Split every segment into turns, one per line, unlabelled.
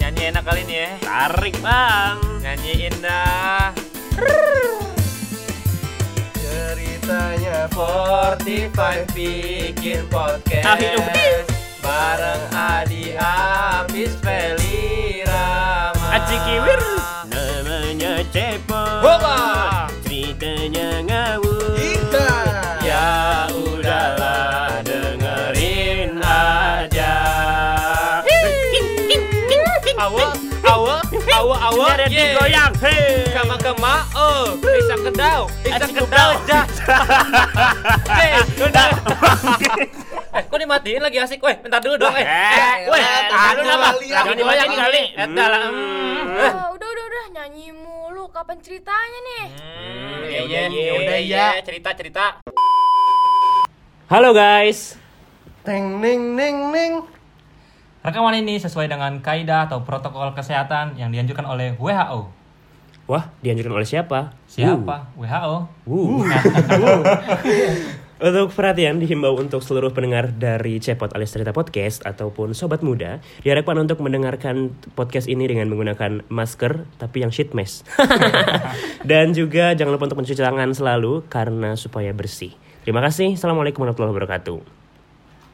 nyanyi enak kali ini ya
Tarik bang.
Nyanyi indah
Ceritanya
45 bikin podcast Bareng Adi Abis Feli Rama
Aji Kiwir. Namanya Cepot.
Boba.
Ceritanya ngawur.
Kita
Ya udahlah dengerin aja Awal, awal, awal, awal
Ada
yeah.
digoyang. Hei.
Kama kema oh bisa kedau bisa
Aji
kedau
kedau.
jah Hei, udah eh kok dimatiin lagi asik weh bentar dulu dong eh
Eh,
weh
eh,
tahan dulu
jangan
apa
lihat.
jangan dimatiin
Jangan
kali
dimatiin.
Eta lah,
Hmm.
hmm.
Ah, udah udah udah nyanyi mulu kapan ceritanya nih?
Hmm,
Hmm,
ya
ya
ya
udah,
ya
ya.
ya cerita cerita
Halo guys.
Neng neng neng neng
Rekaman ini sesuai dengan kaidah atau protokol kesehatan yang dianjurkan oleh WHO.
Wah, dianjurkan oleh siapa?
Siapa? WHO.
Wuh. Untuk perhatian dihimbau untuk seluruh pendengar dari Cepot alias Cerita Podcast ataupun Sobat Muda diharapkan untuk mendengarkan podcast ini dengan menggunakan masker tapi yang sheet mask dan juga jangan lupa untuk mencuci tangan selalu karena supaya bersih. Terima kasih. Assalamualaikum warahmatullahi wabarakatuh.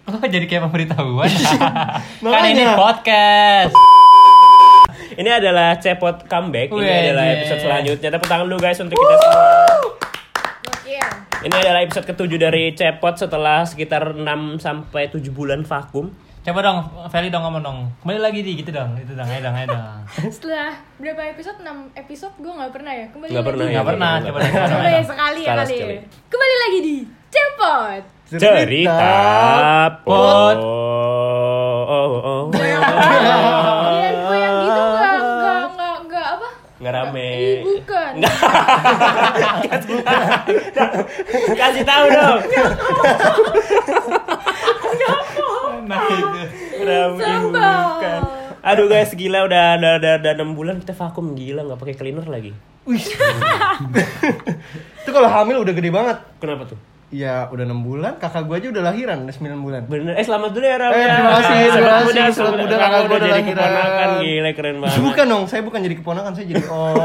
Lo jadi kayak pemberitahuan. kan
Makanya.
ini podcast.
Ini adalah Cepot comeback. Ini
Wede.
adalah episode selanjutnya. Tepuk tangan dulu guys untuk kita semua.
Gokil.
Ini adalah episode ketujuh dari Cepot setelah sekitar 6 sampai 7 bulan vakum.
Coba dong, Feli dong ngomong dong. Kembali lagi di gitu dong, itu dong, ayo dong, ayo dong.
Setelah berapa episode? 6 episode gue nggak pernah ya. Kembali
Nggak
lagi.
pernah ya?
Iya, Nggak pernah, coba dong. coba
Coba
dong.
ya sekali ya
Sekali,
kali.
sekali.
Kembali lagi di Cepot.
cerita pot.
pot.
Oh, oh, oh.
Kalian gue yang gitu nggak nggak nggak nggak apa?
Nggak rame.
Ih, bukan.
Kasih tahu dong.
Nah, itu.
Rame
Sambal.
bukan. Aduh guys, gila udah udah udah, udah 6 bulan kita vakum gila nggak pakai cleaner lagi.
Itu kalau hamil udah gede banget
Kenapa tuh?
Ya udah 6 bulan, kakak gua aja udah lahiran, udah 9 bulan
Bener. Eh selamat dulu ya Ram.
Eh,
ya.
terima kasih, terima
Selamat
kasih.
muda,
Selamat muda,
Kamu
kakak gua
udah
udah
jadi
lahiran.
keponakan gila keren banget.
Bukan dong, saya bukan jadi keponakan, saya jadi om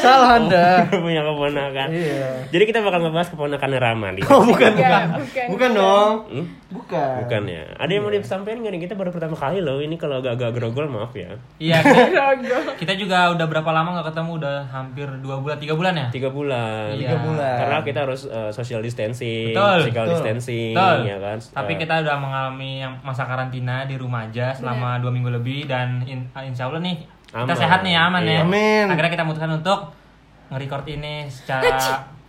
Salah anda
punya keponakan.
Iya.
Jadi kita bakal ngebahas keponakan Rama nih.
Oh bukan,
Bukan,
bukan
bukan.
Bukan dong
Hmm?
Bukan
Bukan
Iya.
ya. Ada yang mau disampaikan nggak nih? Kita baru pertama kali loh. Ini kalau agak-agak grogol maaf ya.
Iya, kita-
Rogo.
kita juga udah berapa lama nggak ketemu? Udah hampir dua bulan, tiga bulan ya?
Tiga bulan.
Tiga
bulan.
Karena kita harus eh, social distancing,
Betul.
physical
Betul.
distancing,
Betul.
ya kan.
Tapi
Eh,
kita udah mengalami yang masa karantina di rumah aja
Iya.
selama dua minggu lebih dan in- ah, insya Allah nih kita
Aman.
sehat nih aman ya.
Iya. Amin.
Akhirnya kita memutuskan untuk nge-record ini secara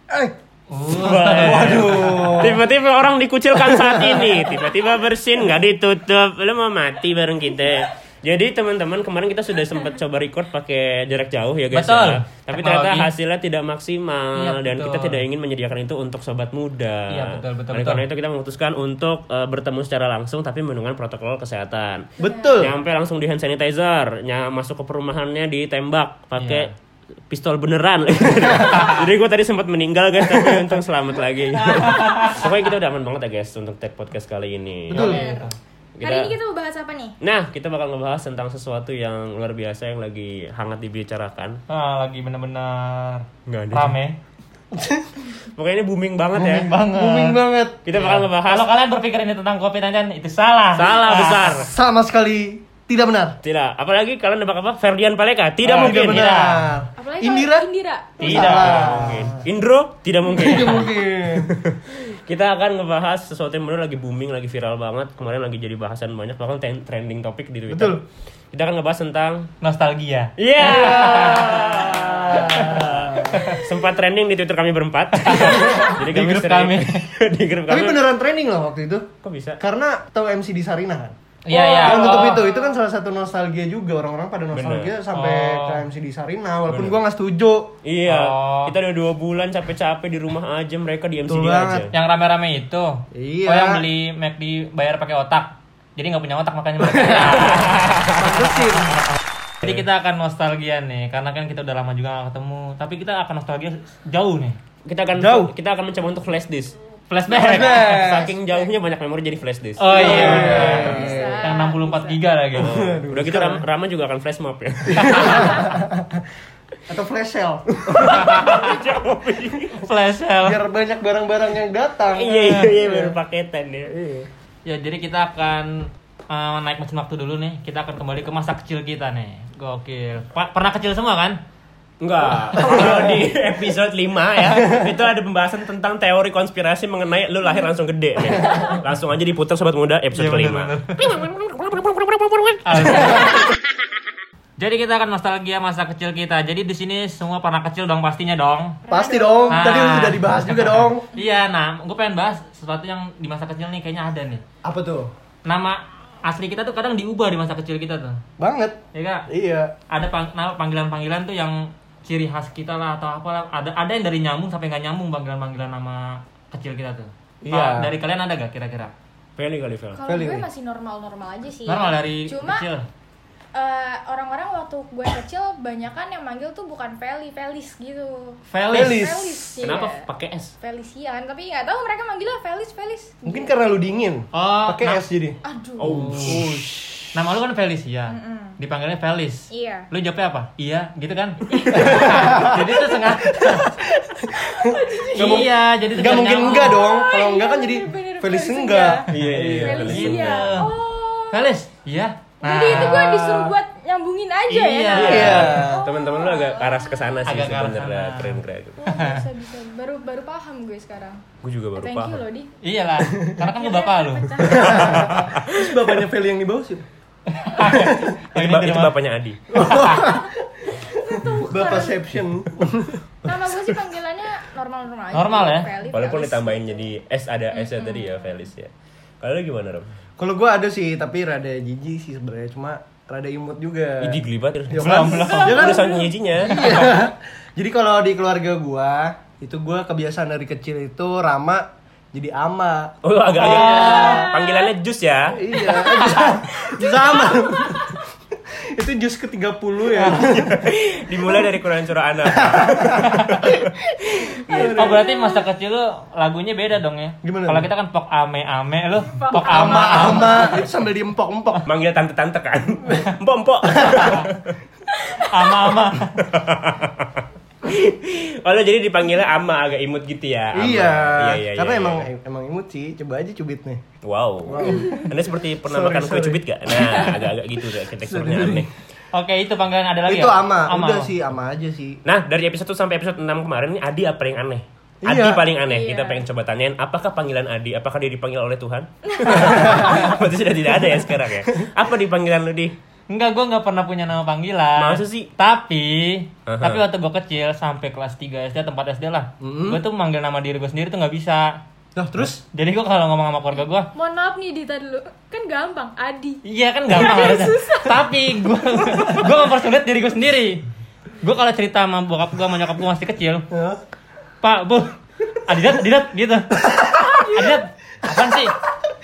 Eh,
uh,
Waduh
Tiba-tiba orang dikucilkan saat ini. Tiba-tiba bersin nggak ditutup. Lu mau mati bareng kita. Jadi teman-teman kemarin kita sudah sempat coba record pakai jarak jauh ya guys.
Betul.
ya. Tapi
Teknologi.
ternyata hasilnya tidak maksimal
Iya,
dan
betul.
kita tidak ingin menyediakan itu untuk sobat muda.
Iya, betul, betul,
Oleh
betul.
karena itu kita memutuskan untuk eh, bertemu secara langsung tapi menggunakan protokol kesehatan.
Betul
nyampe langsung di hand sanitizer nya masuk ke perumahannya ditembak pakai pistol beneran jadi gue tadi sempat meninggal guys tapi untung selamat lagi pokoknya kita udah aman banget ya guys untuk tag podcast kali ini
Betul
Hari ini
Kita-
kita mau bahas apa nih?
nah kita bakal ngebahas tentang sesuatu yang luar biasa yang lagi hangat dibicarakan
ah, lagi bener-bener
Nggak ada.
rame.
pokoknya ini booming banget ya
Booming banget.
Booming banget
kita bakal ngebahas
Kalau kalian berpikir ini tentang COVID-19 itu salah. Ah,
salah besar
Sama sekali tidak benar
tidak apalagi kalian nebak apa Ferdian Paleka tidak
Ah,
mungkin iya.
Tidak iya, benar
Apalagi kalau
Indira?
Indira.
Tidak
Salah.
mungkin Indro tidak mungkin
Tidak mungkin
Kita akan ngebahas sesuatu yang benar lagi booming, lagi viral banget. Kemarin lagi jadi bahasan banyak, bahkan ten- trending topik di Twitter.
Betul.
Kita akan ngebahas tentang
Nostalgia.
Iya. Sempat trending di Twitter kami berempat. jadi
Di grup
sering-
kami.
di grup
Tapi
kami.
beneran training loh waktu itu
Kok bisa?
Karena tahu MC di Sarinah kan
Iya iya.
Yang tutup
Oh.
itu, itu kan salah satu nostalgia juga orang-orang pada nostalgia sampai
Oh.
ke MC di Sarinah walaupun gua nggak setuju.
Iya,
Oh.
kita udah dua bulan capek-capek di rumah aja, mereka di MCD
Betul
aja.
banget.
Yang rame-rame itu.
Iya.
Oh yang beli McD bayar pakai otak. Jadi nggak punya otak makanya mereka.
Pantesin.
Jadi kita akan nostalgia nih, karena kan kita udah lama juga gak ketemu. Tapi kita akan nostalgia jauh nih.
Kita akan
Jauh.
kita akan mencoba untuk flash disk.
Flashback.
Flashback.
Saking jauhnya banyak memori jadi flash disk.
Oh iya.
Bisa.
Yang 64 giga lagi.
Udah gitu Ram- Rama juga akan flash mob ya.
atau flash sale
Flash sale.
biar banyak barang-barang yang datang
Iya iya iya baru paketan ya. Iya.
Ya jadi kita akan eh, naik mesin waktu dulu nih. Kita akan kembali ke masa kecil kita nih. Gokil. Pa- pernah kecil semua kan?
Enggak. Kalau di episode 5 ya, itu ada pembahasan tentang teori konspirasi mengenai lu lahir langsung gede. ya. Langsung aja diputar sobat muda
Iya,
episode kelima.
Jadi kita akan nostalgia masa kecil kita. Jadi di sini semua pernah kecil dong pastinya dong.
pasti dong Oh, tadi
Ah.
sudah dibahas juga dong
Iya, nah, gue pengen bahas sesuatu yang di masa kecil nih kayaknya ada nih.
apa tuh
Nama asli kita tuh kadang diubah di masa kecil kita tuh.
banget
Ya kak?
iya
Ada pang- nama- panggilan-panggilan tuh yang ciri khas kita lah atau apalah. Ada ada yang dari nyambung sampai nggak nyambung panggilan-panggilan nama kecil kita tuh.
Iya.
Pak, dari kalian ada gak kira-kira?
Feli kali Fel.
Kalau gue
Value.
masih normal-normal aja sih.
Normal dari
Iya. Cuma
kecil.
eh, orang-orang waktu gue kecil banyak kan yang manggil tuh bukan Feli, Felis gitu.
Felis.
Felis.
Felis.
Kenapa
iya.
pakai S?
Felisian, tapi nggak tahu mereka manggilnya Felis, Felis.
mungkin karena lu dingin
Oh,
pakai
nah.
es jadi
Aduh.
Oh.
Nama lu kan Felis ya. Dipanggilnya Felis.
Iya.
Lu jawabnya apa? Iya, gitu kan?
Iya.
jadi tuh sengaja.
mung-
iya, jadi tuh
Gak
biar
mungkin
nyambung.
enggak dong kalau enggak kan
iya,
jadi
bener-bener
Felis
Felis
enggak
Iya iya.
Felis
Feli.
Iya.
iya. Oh.
Felis, iya.
Jadi itu gue
Nah,
disuruh buat nyambungin aja
Iya.
ya. namanya.
Iya.
Iya.
Teman-teman lu agak ke arah ke sana sih
Agak ke arah
sebenarnya
sana.
keren keren.
Wah, Oh, bisa bisa. Baru baru paham gue sekarang.
Gue juga baru
Thank you
paham.
loh, Di.
Iya lah, karena kan gue bapak lu.
Pecah.
Iya. terus bapaknya Feli yang dibawa sih
Itu,
Ini
ba-
dari
itu
mana?
bapaknya Adi.
bapak Seption
Nama gue sih panggilannya normal-normal aja.
Normal ya?
Feli,
Walaupun
Felis.
ditambahin jadi S ada S nya tadi ya Felis ya. Kalau lu gimana Ram?
kalau gue ada sih tapi rada jijik sih sebenarnya cuma rada imut juga
Idi gelibat.
Ya kan? Ya kan?
Udah sound nyijinya.
Iya.
Jadi kalau di keluarga gua itu gua kebiasaan dari kecil itu Rama jadi Ama.
Oh agak agak
Ah.
panggilannya Jus ya.
Iya. Jus Ama. itu jus ke-30 ya.
Dimulai dari Quran surah anak.
Iya.
Oh berarti masa kecil lu lagunya beda dong ya?
Gimana?
Kalau kita kan pok ame ame lu, pok
Ama
ama.
Ama itu sambil diempok-empok.
Manggil tante-tante kan. Mbok mbok.
ama ama.
Oh lo jadi dipanggilnya Ama agak imut gitu ya. Ama.
Iya, karena
iya,
emang
iya.
emang imut sih. Coba aja cubit nih.
Wow. Anda seperti pernah
Sorry,
makan kue
sorry.
cubit gak? Nah, agak-agak gitu deh, teksturnya aneh.
Oke itu panggilan ada lagi
itu
ya?
Ama. Udah
ama.
sih Ama aja sih.
Nah, dari episode 1 sampai episode 6 kemarin ini Adi apa yang aneh? Adi
Iya.
paling aneh.
Iya.
Kita pengen coba tanyain apakah panggilan Adi apakah dia dipanggil oleh Tuhan? Berarti sudah tidak ada ya sekarang ya. Apa di panggilan lu di?
Enggak, gue nggak pernah punya nama panggilan.
Masa sih?
Tapi,
Aha.
tapi waktu gue kecil sampai kelas 3 SD tempat SD lah, gue tuh manggil nama diri gue sendiri tuh nggak bisa.
Nah, terus
Jadi gue kalau ngomong sama keluarga gue,
Mohon maaf nih Dita dulu. Kan gampang, Adi.
iya kan gampang harusnya. Tapi gue gue mempersulit diri gue sendiri. Gue kalau cerita sama bokap gue, sama nyokap gue masih kecil,
Hah?
Pak, Bu, Adidat, Adidat, gitu. Adidat, apaan sih?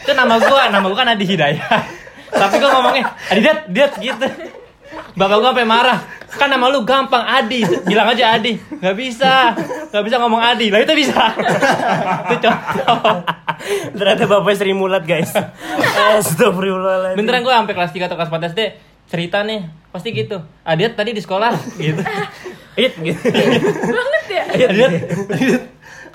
Itu nama gua, nama gua kan Adi Hidayah. Tapi gua ngomongnya, Adidat, Adidat, gitu. Bapak gua sampai marah. Kan nama lu gampang, Adi. Bilang aja Adi. Gak bisa. Gak bisa ngomong Adi. Lah itu bisa. itu contoh.
Ternyata bapak Sri Mulat, guys. Astagfirullahaladzim.
Beneran gua sampai kelas 3 atau kelas 4 SD cerita nih pasti gitu Adidat tadi di sekolah gitu
It, gitu.
Banget ya.
Adidat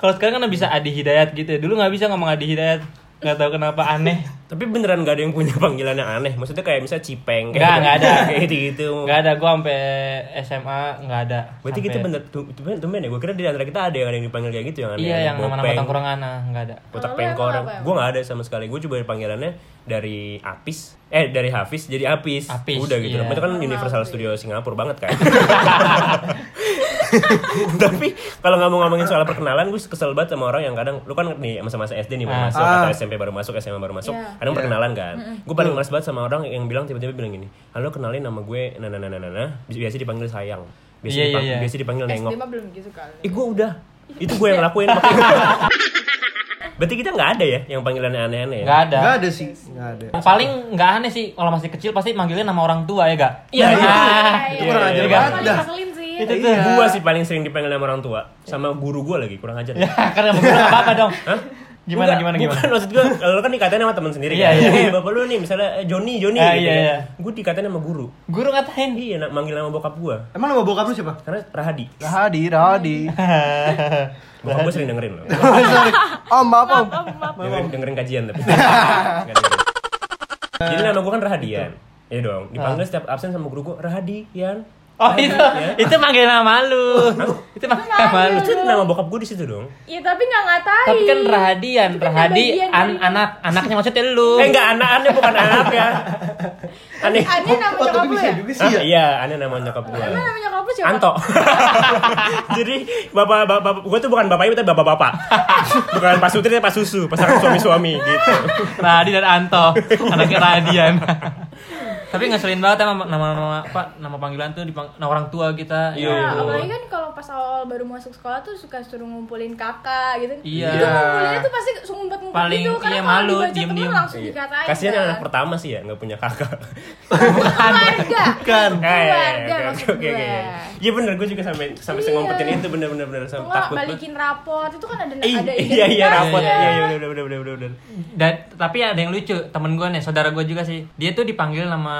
kalau sekarang kan bisa Adi Hidayat gitu ya. dulu nggak bisa ngomong Adi Hidayat nggak tahu kenapa aneh
Tapi beneran gak ada yang punya panggilan yang aneh. Maksudnya kayak misalnya cipeng kayak
Nggak, nggak ada.
kayak gitu-gitu.
Nggak ada, gua sampai SMA nggak ada.
Berarti
Sampai-
kita bener tu- tumben tumben ya. Gue kira di antara kita ada yang ada yang dipanggil kayak gitu yang aneh.
Iya, yang nama-nama
Bopeng,
tongkrongan nah, nggak ada.
Botak
Kalau lu
pengkor.
emang apa emang?
Gue gak ada sama sekali. Gue coba panggilannya dari Apis. Eh dari Hafiz jadi Apis.
Apis,
Udah gitu.
iya.
Itu
Oh,
kan Universal Studio Singapura banget kan. Tapi kalau nggak mau ngomongin soal perkenalan, gue kesel banget sama orang yang kadang lu kan nih masa-masa SD nih
Ah.
baru masuk
Ah.
atau SMP baru masuk, SMA baru masuk,
Iya.
kadang perkenalan kan. Gue paling males banget sama orang yang bilang tiba-tiba bilang gini, "Halo, kenalin nama gue Nana Nana Nana." Biasa dipanggil sayang.
Iya,
Biasa,
iya,
dipanggil,
iya.
biasa dipanggil
SD
nengok.
mah belum gitu kali.
Eh gue udah Itu gue yang lakuin makanya. Berarti kita nggak ada ya Yang panggilannya aneh-aneh ya
Nggak ada.
enggak ada sih. Enggak ada.
Yang paling nggak aneh sih kalau masih kecil pasti manggilnya nama orang tua ya gak?
Iya,
nah,
iya.
Itu kurang
iya, iya.
ajar banget
Paling
dah.
ngeselin sih.
Itu tuh.
Iya.
Gue sih paling sering dipanggil sama orang tua Sama guru gue lagi Kurang ajar ya
Ya, karena guru nggak apa-apa dong. Gimana,
Enggak,
gimana, gimana?
Bukan maksud gue, lu kan dikatain sama teman sendiri
Iya,
kan.
iya.
Hey, bapak lu nih misalnya eh, Joni, Joni
Ah,
gitu
iya, iya.
kan. Gue dikatain sama guru.
Guru ngatain.
Iya, nak manggil nama bokap gue.
Emang nama bokap lu siapa?
Karena Rahadi.
Rahadi, Rahadi.
Bokap gue sering dengerin loh.
Sorry. Om, maaf om.
dengerin, dengerin kajian tapi. Nggak dengerin. Jadi nama gue kan Rahadian. Iya dong, dipanggil
Ah.
setiap absen sama guru gue Rahadian.
Oh itu,
Iya.
itu manggil nama lu. itu manggil nama lu.
Itu nama bokap gue di situ dong.
Ya tapi nggak ngatain.
Tapi kan Rahadian,
Itu kan
Rahadi
bagian
an
dari-
anak anaknya maksudnya lu.
Eh enggak, anak aneh bukan anak ya. Aneh.
Aneh nama
Oh, tapi
nyokap lu
bisa
ya?
juga sih
Ah,
ya.
Iya, aneh nama nyokap gue.
Emang nama nyokap lu siapa?
Anto. Jadi bapak bapak, gue tuh bukan bapaknya tapi bapak bapak. bukan Pak Sutri tapi Pak Susu, pasangan suami suami gitu.
Radi dan Anto, anaknya Radian. Tapi ngeselin banget sama nama-nama apa nama panggilan tuh di nah, orang tua kita.
Iya,
Ya Allah.
apalagi kan kalau pas awal baru masuk sekolah tuh suka suruh ngumpulin kakak gitu.
Iya.
Itu ngumpulinnya tuh pasti sungguh buat ngumpul
Paling,
gitu karena
iya,
kalau
malu,
dibaca
diem-diem.
temen langsung
Iya.
dikatain.
Kasihan yang
kan.
anak Eh, pertama sih ya nggak punya kakak.
keluarga.
Bukan.
Keluarga
Eh, iya, oke,
maksud
oke,
gue.
oke. Iya bener, gue juga sampai sampai
Iya.
ngumpetin itu bener bener bener
Atau
sampai
nggak
takut.
balikin rapot itu kan ada
Ih,
ada
iya iya
identitasnya.
rapot iya iya bener bener bener bener bener.
Dan tapi ada yang lucu, temen gue nih, saudara gue juga sih. Dia tuh dipanggil nama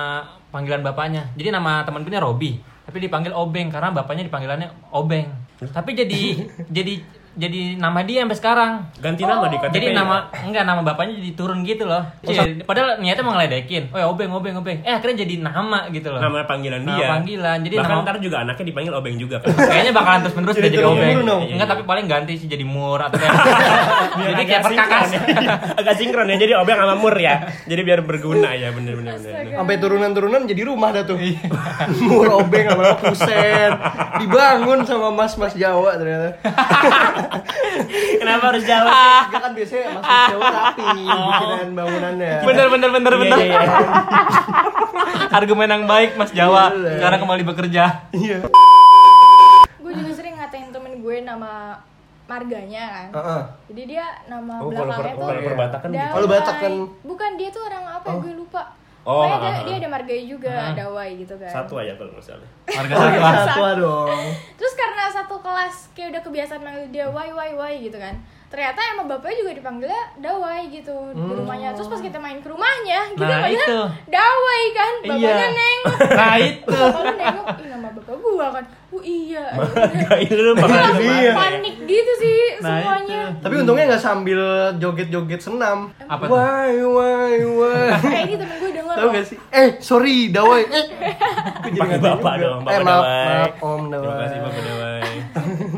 panggilan bapaknya. Jadi nama temen gue nih Robi, tapi dipanggil Obeng karena bapaknya dipanggilannya Obeng. Tapi jadi jadi jadi nama dia sampai sekarang.
Ganti nama
Oh.
di KTP.
Jadi nama
ya?
enggak nama bapaknya jadi turun gitu loh. Iya, padahal niatnya mau ngeledekin. Oh ya Obeng, Obeng, Obeng. Eh akhirnya jadi nama gitu loh.
nama panggilan
Nama
dia.
panggilan. Jadi
bahkan
nama-
ntar juga anaknya dipanggil obeng juga kan.
Kayaknya bakalan terus menerus
Jadi
jadi
turun
Obeng.
turun dong.
Enggak, tapi paling ganti sih jadi Mur atau kayak. jadi
Agak
kayak perkakas.
sinkron ya. Agak sinkron ya. Jadi obeng sama mur ya. Jadi biar berguna ya bener bener bener.
Astaga.
Iya. Sampai turunan-turunan jadi rumah dah tuh. Mur obeng sama kusen. Dibangun sama mas-mas Jawa ternyata.
Kenapa harus jalan?
Ah.
Enggak kan biasanya mas-mas Jawa rapi bikinan bangunannya.
Bener bener bener
Iya,
bener.
iya, iya.
Argumen yang baik Mas Jawa.
Iya.
Sekarang kembali bekerja.
Iya.
Gue juga sering ngatain temen gue nama marganya kan.
Heeh.
Jadi dia nama
Oh, kalau
belakangnya
per-
tuh
kalau perbatakan gitu.
Dawai.
Kalau Batak kan.
Bukan dia tuh orang apa ya, gue lupa.
Oh,
Pokoknya
ah,
dia,
ah,
dia
ah.
ada marganya juga, Dawai gitu kan.
Satu aja kalau misalnya.
Warga
Pakai
Satwa.
satwa dong.
Terus karena satu kelas kayak udah kebiasaan manggil dia wai wai wai gitu kan. Ternyata emang bapaknya juga dipanggilnya Dawai gitu di
Hmm.
rumahnya. Terus pas kita main ke rumahnya, kita
Nah,
panggilnya
itu.
Dawai kan. Bapaknya
Iya.
neng.
Nah itu.
Bapak lu nengok, ih nama bapak gua kan. Oh iya.
Kayak lu bakal
Iya.
Panik gitu sih
Nah,
semuanya.
itu.
Tapi untungnya nggak sambil joget-joget senam.
Apa tuh?
Wai, wai, wai.
Kayak gitu temen gue denger.
Tahu
loh.
gak sih? Eh, sorry, Dawai. Eh, Aku jadi
Panggil
ngerti
bapak
juga.
dong,
eh,
bapak
maaf,
Dawai.
maaf, Om
Terima
Dawai.
kasih Bapak Dawai.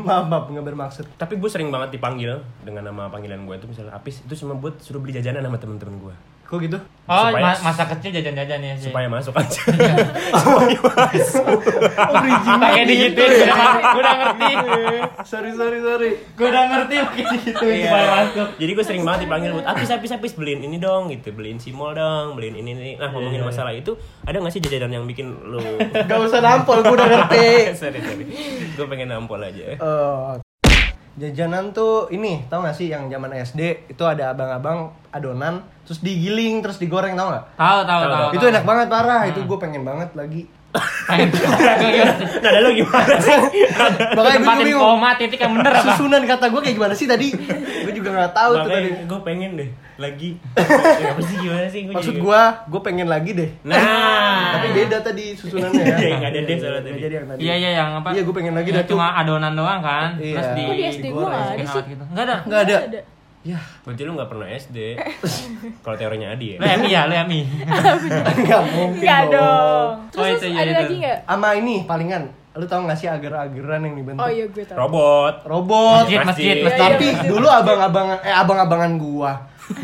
maaf, maaf, nggak bermaksud.
Tapi gue sering banget dipanggil dengan nama panggilan gue itu misalnya Apis itu cuma buat suruh beli jajanan sama temen-temen gue
Kok gitu?
Oh
Supaya-
ma- masa kecil jajan-jajan ya sih.
supaya masuk aja. supaya masuk.
Oh, bridging.
Pakai digituin. Gue udah gitu. ngerti.
sorry, sorry, sorry.
Gue udah ngerti pakai digituin supaya masuk.
Jadi gue sering banget dipanggil buat Apis Apis Apis beliin ini dong gitu, beliin simol dong, beliin ini ini. Nah
Iya.
ngomongin masalah itu ada nggak sih jajanan yang bikin lu?
Gak usah nampol, gue udah ngerti.
sorry sorry, gue pengen nampol aja.
Eh, jajanan tuh ini tau gak sih yang zaman SD itu ada abang-abang adonan terus digiling terus digoreng tau gak?
Tahu tahu tahu.
itu enak banget parah itu gue pengen banget lagi
Nah, ada lu gimana sih?
makanya gue
Tempatin
bingung
koma titik yang bener apa?
susunan kata gue kayak gimana sih tadi gue juga nggak tahu tuh tadi
Makanya gue pengen deh lagi. Ya, Apa sih gimana sih? Gua gitu.
maksud
jadi-
gue gue pengen lagi deh
Nah,
tapi beda tadi susunannya ya
Iya, nggak ada deh soalnya tadi.
Nggak jadi yang tadi
Iya iya yang apa?
Iya, gua pengen lagi
Yang
dah tuh.
Cuma adonan doang kan.
Iya.
Terus di
Kok di SD gua nggak ada sih?
Gitu. Enggak ada.
nggak ada ya
berarti lu nggak pernah SD. Kalau teorinya Adi ya.
Lu MI ya, lu MI.
nggak mungkin
Enggak Iya dong.
Oh,
Terus,
itu,
terus
iya,
ada
itu.
lagi nggak?
sama ini palingan lu tau gak sih agar-agaran yang dibentuk
Oh iya gue tahu.
Robot.
robot
Masjid, masjid,
Masjid.
masjid.
Nah, tapi dulu abang-abang eh abang-abangan gua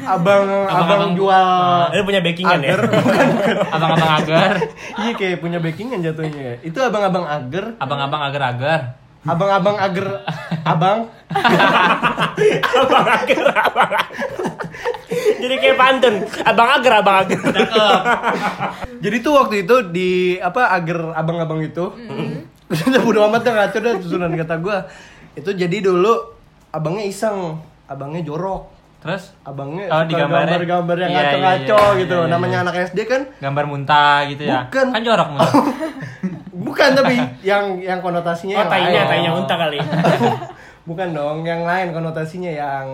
abang abang jual
Ah.
Lu punya backingan ya?
agar bukan
Abang-abang agar,
iya kayak punya backingan jatuhnya itu abang-abang agar
abang-abang agar-agar.
abang-abang agar abang
abang agar, abang agar. Jadi kayak pantun. Abang agar, abang agar.
jadi tuh waktu itu di apa agar abang-abang itu udah bodo amat dah ngaco dah susunan kata gua itu jadi dulu abangnya iseng abangnya jorok
Terus
abangnya
Oh,
suka
di gambarnya?
gambar-gambar yang
Iya, iya, iya,
ngaco-ngaco
iya,
gitu
iya, iya.
namanya anak SD kan
gambar muntah gitu ya.
Bukan. Oh.
Kan jorok muntah.
bukan tapi yang yang konotasinya
Oh,
yang
tainya,
lain.
tainya unta kali.
Bukan dong, yang lain konotasinya yang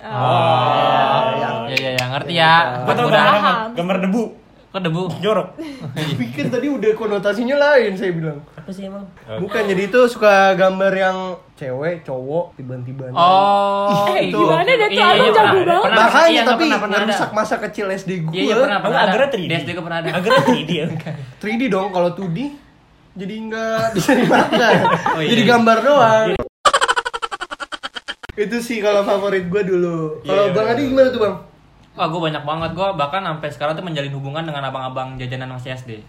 Oh. Ya ya ya ngerti
Iya,
ya.
Gua tau
Udah.
gambar, gambar debu
Kok debu?
jorok.
Iya.
Tapi kan tadi udah konotasinya lain saya bilang.
Apa sih emang?
Eh.
Bukan jadi itu suka gambar yang cewek, cowok, tiba-tiba.
Oh,
Eh,
itu.
gimana dah tuh
Iya, iya,
abang jago
pernah. Pernah,
banget.
iya,
Makanya
nggak
tapi
pernah, pernah ada.
ngerusak masa kecil SD gue.
Iya, iya pernah pernah.
Enggak,
ada.
Agra 3D.
Des juga pernah ada.
Agra 3D ya.
3D dong kalau 2D jadi nggak bisa dimakan.
Oh, iya,
Jadi gambar doang. itu sih kalau favorit gue
Iya,
dulu. Kalau Bang Adi gimana tuh Bang?
Wah, gue banyak banget gue bahkan sampai sekarang tuh menjalin hubungan dengan abang-abang jajanan masih SD.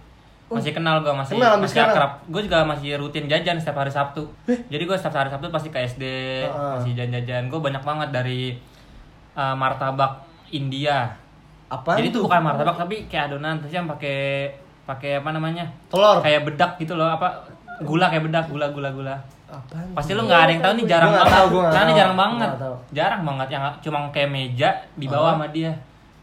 Masih kenal gue masih
Oh. Kenal sampai
masih
sekarang? Eh.
akrab. Gue juga masih rutin jajan setiap hari Sabtu. Jadi gue setiap hari Sabtu pasti ke SD,
Heeh.
masih jajan-jajan. Gue banyak banget dari uh, martabak India.
Apa
Jadi itu
tuh?
bukan martabak tapi kayak adonan terus yang pakai pakai apa namanya?
Telur.
Kayak bedak gitu loh, apa gula kayak bedak, gula gula gula.
Apaan?
Pasti lu nggak ada yang tahu nih jarang
Gua nggak
banget.
tahu, gua nggak
Nah, ini
tahu.
jarang
Gua
banget.
nggak tahu.
Jarang banget yang cuma kayak meja di bawah sama dia.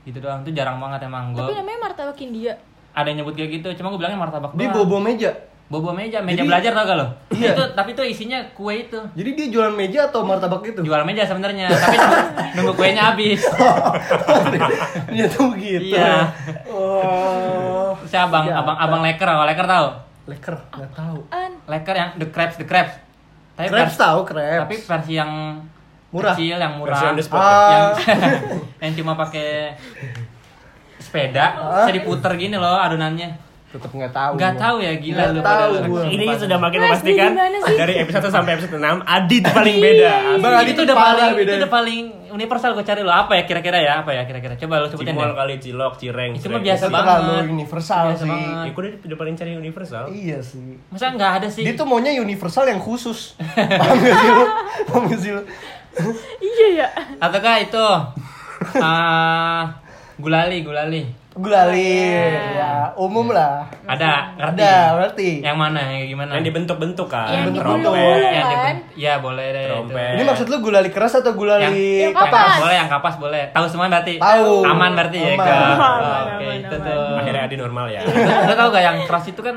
Gitu doang. Itu jarang banget emang
Tapi
gua.
namanya martabak India.
Ada yang nyebut kayak gitu, cuma gue bilangnya martabak
Dia
doang.
bobo meja.
Bobo meja, meja
Jadi-
belajar tau gak lo?
Iya.
Itu tapi itu isinya kue itu.
Jadi dia jualan meja atau martabak gitu? itu?
Jual meja sebenarnya, tapi nunggu, nunggu kuenya habis.
Oh. Dia tuh gitu.
Iya.
Oh.
Terus abang, abang, abang leker, abang leker tau?
Leker, nggak tahu.
An.
Leker yang the crepes, the crepes. Tapi
Crepes
versi-
tahu crepes.
Tapi versi yang
Murah.
kecil, yang murah.
Versi on the spot.
yang,
Ah,
yang cuma pakai sepeda, bisa diputer gini loh adonannya.
tetap nggak Ah. tahu.
Nggak
gua.
tahu ya gila
Nggak
lu
tahu
padahal.
gua.
Ini sudah makin
Mas, ini
memastikan
gimana sih?
dari episode 1 sampai episode 6 Adit paling beda.
Bang Adi
itu
tuh
udah
parah
paling itu
bedanya.
udah paling universal gue cari lo apa ya kira-kira ya apa ya kira-kira coba lo sebutin
Cimol
deh
kali cilok, cireng.
Cuma
cireng.
biasa
Itu
banget.
terlalu universal
Biasa
sih.
banget.
Ya, gua udah udah paling cari universal.
Iya sih.
masa nggak ada sih
Dia tuh maunya universal yang khusus. Paham gak sih lu? Paham gak sih lu?
Iya ya.
ataukah itu ah, gulali gulali
Gulali. Ya, umum lah.
Iya. ada Iya. ngerti
Ada, berarti.
yang mana yang gimana
Yang dibentuk-bentuk kan.
Iya, Yang
Trompet.
digulung.
Yang
Kan?
diben- ya boleh deh itu.
Trompet.
Ini maksud lu gulali keras atau gulali
Yang- yang kapas.
boleh yang Iya, kapas boleh tahu semua berarti
Tahu.
aman berarti ya Kak?
Aman.
Oh,
Aman,
oke
aman,
itu
aman.
tuh
Akhirnya Adit normal ya.
Iya.
lo tau gak yang keras itu kan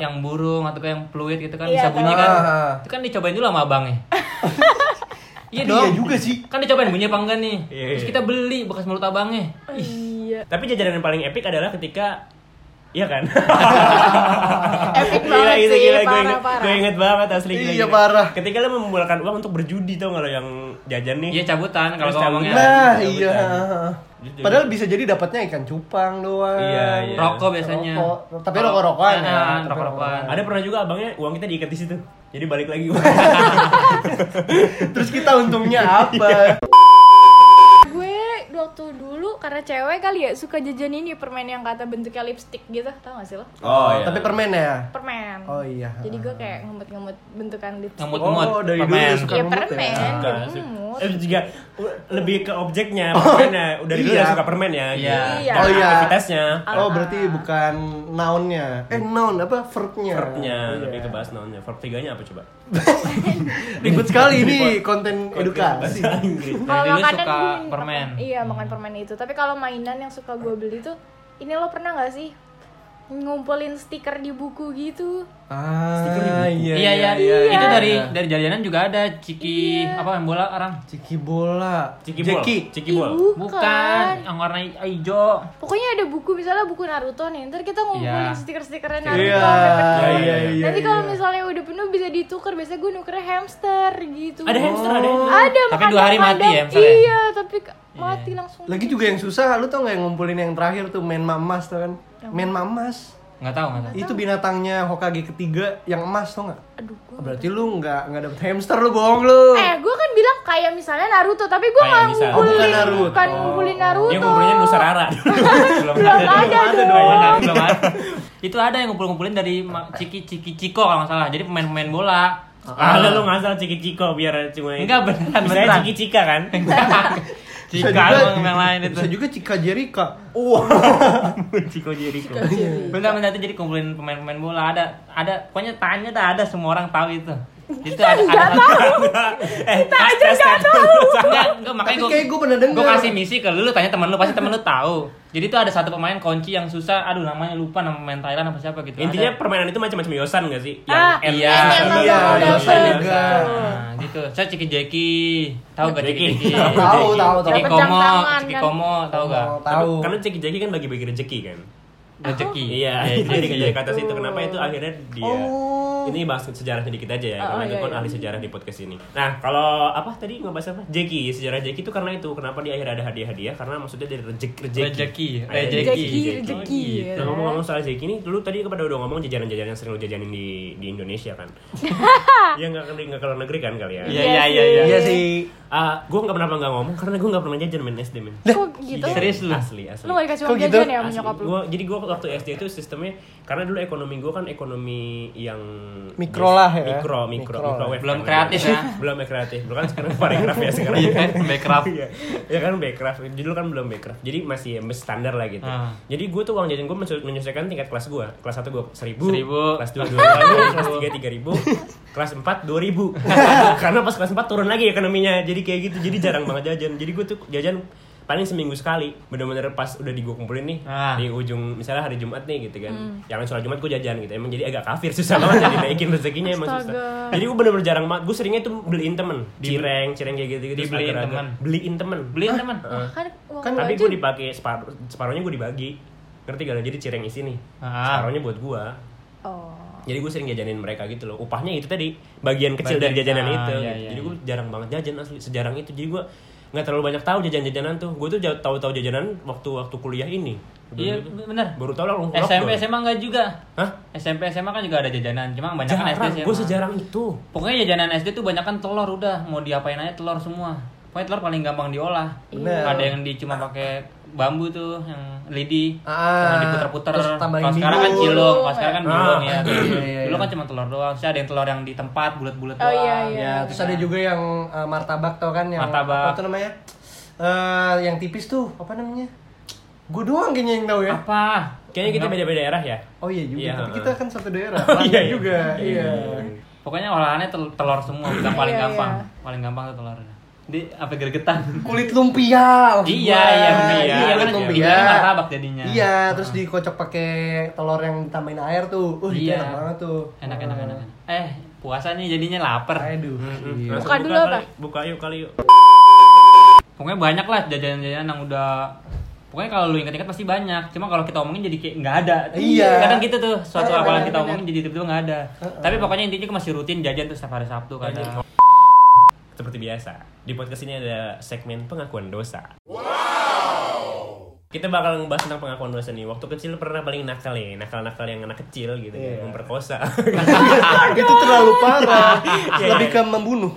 yang burung atau kayak yang fluid gitu kan
Iya,
bisa bunyi kan
tahu. Ah.
itu kan dicobain dulu sama abangnya iya
Iya
dong
juga sih.
kan dicobain bunyi apa enggak nih
Iya,
terus
iya.
kita beli bekas mulut abangnya
Iya.
Tapi jajanan yang paling epic adalah ketika Iya kan?
Epic
Gila,
banget
itu
sih.
gila, gue inget,
Parah-parah.
gue inget banget asli gila,
Iya,
gila.
parah.
Ketika lo membualkan uang untuk berjudi tau gak lo yang jajan nih?
iya cabutan kalau
Terus
gua ngomongnya
Nah,
Iya,
iya.
iya.
betul.
Padahal bisa jadi dapatnya ikan cupang doang.
Iya, iya.
rokok biasanya
Rokok. Tapi rokok-rokokan ya,
Ah,
tapi
rokok-rokokan
Ada pernah juga abangnya uang kita diikat di situ. Jadi balik lagi
Oh,
uang.
iya.
Terus kita untungnya
Iya,
apa?
Gue waktu dulu karena cewek kali ya suka jajan ini permen yang kata bentuknya lipstick gitu, tau gak sih lo?
Oh, iya.
Tapi permen ya.
Permen.
Oh, iya.
Jadi gue kayak ngemut-ngemut bentukan lipstick.
ngemut ngemut
Oh, dari dulu suka
Iya
ngemut ya.
permen.
Enggak,
jadi
sih.
ngemut.
Eh, juga uh, lebih ke objeknya, permennya. Udah dulu
Iya.
udah suka permen ya.
Iya.
Iya.
Oh
Oh,
iya.
iya.
Aktivitasnya.
Oh, berarti bukan nounnya. Eh, noun apa? Verbnya.
Oh,
Verbnya
Iya.
lebih ke gitu bahas nounnya. Verb tiganya apa coba?
Ribet sekali ini konten edukasi.
Bahasa Inggris.
Dari dulu
makanan
suka
gue makan-
permen. Hmm.
Iya, makan permen itu. Tapi kalau mainan yang suka gue beli tuh, ini lo pernah gak sih ngumpulin stiker di buku gitu?
Ah, iya,
iya iya itu dari dari jajanan juga ada ciki apa yang bola orang
Ciki bola.
Ciki bol.
Jeki.
Ciki bol.
bukan yang warna hijau
Pokoknya ada buku misalnya buku Naruto nih, ntar kita ngumpulin
Iya.
stiker-stikernya Naruto.
Iya,
dapet
Iya,
iya,
iya.
iya.
Nanti kalau misalnya udah penuh bisa ditukar. Biasanya gue nukernya hamster gitu.
Ada hamster, ada hamster.
Ada
Tapi
makanya
dua hari mati
kadang-
ya hamsternya?
Iya, tapi ke- mati langsung.
Lagi juga yang susah, lu tau gak yang ngumpulin yang terakhir tuh main mamas tuh kan? Main mamas.
nggak tahu nggak tahu
Iya,
Itu binatangnya Hokage ketiga yang emas tau gak?
Aduh, gua-
Berarti lu nggak nggak dapet hamster lu bohong lu.
Eh, gue kan bilang kayak misalnya Naruto, tapi gue
Kayak
nggak
misal- Oh,
ngumpulin,
bukan Naruto.
bukan ngumpulin Naruto.
Dia ngumpulinnya Nusarara.
Iya,
Belum
Belum ada dong.
Belum ada, belum ada. itu ada yang ngumpul-ngumpulin dari ma- ciki ciki ciko kalau nggak salah jadi pemain-pemain bola
Ah, lu lu ngasal ciki ciko biar cuma
Enggak, beneran,
Bisa
beneran.
ciki cika kan?
cika sama yang lain itu
Bisa juga Cika Jerika.
Ciko Jericho.
bentar bentar itu jadi kumpulin pemain-pemain bola ada ada pokoknya tanya dah ada semua orang tahu itu Itu ada ada
eh, kita aja nggak tahu.
enggak, enggak makanya
Tapi
gua
kayak gue pernah denger
gua kasih misi ke lu, lu tanya temen lu, pasti temen lu tahu. Jadi tuh ada satu pemain kunci yang susah, aduh namanya lupa nama pemain Thailand apa siapa gitu.
Intinya
Ada.
permainan itu macam-macam yosan gak sih? Yang
Ah,
iya.
yang
Iya,
nggak
iya,
mau
iya,
dapet.
iya, iya.
Nah, gitu. Saya Ciki Jeki, tahu gak Ciki
Jeki.
Jeki?
Tahu, tahu, tahu.
Ciki
Dapat jam
Komo,
tangan,
Ciki
kan?
Komo, tahu gak?
Tahu.
Karena ceki-ceki kan bagi-bagi rezeki kan.
Rezeki.
Iya, itu
jadi
dikejar ke atas itu kenapa itu akhirnya dia. Ini bahas sejarah sedikit aja ya,
Oh,
karena
iya,
itu kan
iya.
ahli sejarah di podcast ini. Nah, kalau apa tadi ngebahas apa? Jeki, sejarah Jeki itu karena itu kenapa di akhirnya ada hadiah-hadiah karena maksudnya dari rejeki
Rejeki,
Rejeki.
Rejeki,
rejeki, ya.
Nah, ngomong-ngomong soal Jeki ini, dulu tadi kepada udah ngomong jajanan-jajanan yang sering lo jajanin di di Indonesia kan. Iya nggak ke nggak ke luar negeri kan
Iya,
kalian?
iya, iya, iya.
Iya sih.
Ah, gue nggak kenapa nggak ngomong karena gue nggak pernah jajan main SD men.
Kok gitu?
Iya,
Serius lu?
Asli, asli.
Lu gak dikasih
Kok
uang
gitu?
jajan ya sama
Iya, Asli.
nyokap lu?
Gua, jadi gue waktu SD itu sistemnya karena dulu ekonomi gue kan ekonomi yang
Mikro lah ya.
Mikro, mikro,
Mikro.
microwave
Belum
kan.
kreatif ya.
belum kreatif. Belum kan sekarang parekraf ya sekarang.
Iya, Backcraft.
Iya. ya kan backcraft. Dulu kan belum backcraft. Jadi masih ya, standar lah gitu.
Ah.
Jadi gue tuh uang jajan gue menyesuaikan tingkat kelas gue. Kelas 1 gue 1000,
Seribu.
kelas 2 2000, kelas 3 3000, Eh, kelas 4 2000. Karena pas kelas 4 turun lagi ekonominya. Jadi kayak gitu. Jadi jarang banget jajan. Jadi gue tuh jajan paling seminggu sekali bener-bener pas udah di gue kumpulin nih
Ah.
di ujung misalnya hari Jumat nih gitu kan
Hmm.
yang sholat Jumat gue jajan gitu emang jadi agak kafir susah banget jadi naikin rezekinya emang susah
Astaga.
jadi gue bener-bener jarang banget gue seringnya tuh beliin temen cireng cireng kayak gitu gitu
Dibeliin temen.
beliin temen
Beliin teman.
Wah, kan uang
Kan
tapi
jajan.
gue dipakai separuh separuhnya gue dibagi ngerti gak lo? jadi cireng isi nih
Ah.
separuhnya buat gue
Oh.
jadi gue sering jajanin mereka gitu loh upahnya itu tadi bagian kecil dari
Bagian-
jajanan
ah,
itu
iya,
gitu.
iya,
jadi
iya.
gue jarang banget jajan asli sejarang itu jadi gue nggak terlalu banyak tahu jajan-jajanan tuh gue tuh jauh tahu-tahu jajanan waktu waktu kuliah ini
Iya, bener.
Bener-bener. baru tahu langsung
SMP
lockdown.
SMA enggak juga.
hah
SMP SMA kan juga ada jajanan, cuma banyak kan
jarang
SD
gue
SMA.
sejarang itu
Pokoknya jajanan SD tuh banyak kan telur udah, mau diapain aja telur semua. Pokoknya telur paling gampang diolah.
Bener.
Ada yang di cuma pakai bambu tuh, yang lidi.
Ah,
yang diputer-puter.
terus tambahin
Kalau sekarang kan
bihun.
cilok, kalau sekarang kan
Ah.
bihun ya.
Iya, iya,
Dulu
iya.
kan cuma telur doang. Terus ada yang telur yang di tempat bulat-bulat
Oh,
doang.
iya, iya.
Ya, terus ada juga yang eh, martabak tau kan yang
Martabak.
apa tuh namanya? Eh, yang tipis tuh, apa namanya? Gue doang kayaknya yang tahu ya.
Apa?
kayaknya kita beda-beda daerah ya
Oh iya juga,
Iya,
tapi
heeh.
kita kan satu daerah.
Oh iya,
Banyak
iya.
juga. Iya.
Pokoknya olahannya tel- telur semua, yang paling
Iya, iya.
gampang. Paling gampang tuh telurnya. Di apa gergetan?
Kulit lumpia. maksud
iya,
gua.
iya, bener.
Iya,
Iya,
kulit
kan
lumpia.
dibilangnya martabak jadinya.
Iya, terus dikocok pakai telur yang tambahin air tuh. Uh, itu
Iya.
enak banget tuh.
Enak, enak, enak. enak. Eh, puasa nih jadinya lapar.
Aduh. iya.
Langsung
Buka dulu
kali.
apa?
buka yuk kali yuk
Pokoknya banyak lah jajanan-jajanan yang udah Pokoknya kalau lu ingat-ingat pasti banyak. Cuma kalau kita omongin jadi kayak nggak ada.
Iya.
Kadang gitu tuh suatu
Iya,
apalan
benar,
kita
benar.
omongin jadi tiba-tiba nggak ada. Tapi pokoknya intinya masih rutin jajan tuh setiap hari Sabtu kan.
Iya.
kadang.
seperti biasa di podcast ini ada segmen pengakuan dosa kita bakal ngebahas tentang pengakuan dosa nih waktu kecil pernah paling nakal ya nakal nakal yang anak kecil gitu ya
Iya.
memperkosa
itu terlalu parah.
Iya,
Lebih
iya.
ke membunuh.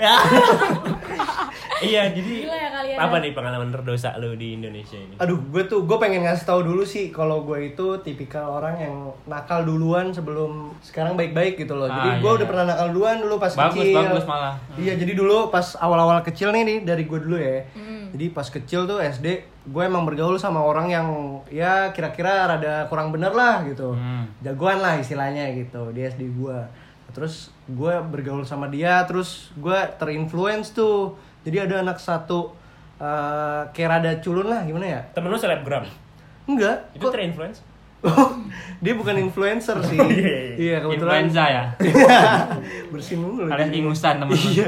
iya jadi
Gila ya kalian
apa
ya.
nih pengalaman terdosa lo di Indonesia ini
Aduh, gue tuh gue pengen ngasih tahu dulu sih kalau gue itu tipikal orang yang nakal duluan sebelum sekarang baik-baik gitu loh.
Ah,
jadi gue
iya,
udah
iya.
pernah nakal duluan dulu pas
Bagus,
kecil.
bagus malah.
Iya, jadi dulu pas awal-awal kecil nih nih dari gue dulu ya. Jadi pas kecil tuh SD gue emang bergaul sama orang yang ya kira-kira rada kurang bener lah gitu.
Hmm.
Jagoan lah istilahnya gitu di SD gue. Terus gue bergaul sama dia, terus gue terinfluence tuh. Jadi ada anak satu eh kayak rada culun lah gimana ya?
temen lo selebgram
Enggak,
itu
kok
terinfluence
dia bukan influencer sih.
iya, iya.
Iya, kebetulan
Influenza ya.
bersin mulu.
Alias ingusan teman-teman.
Iya.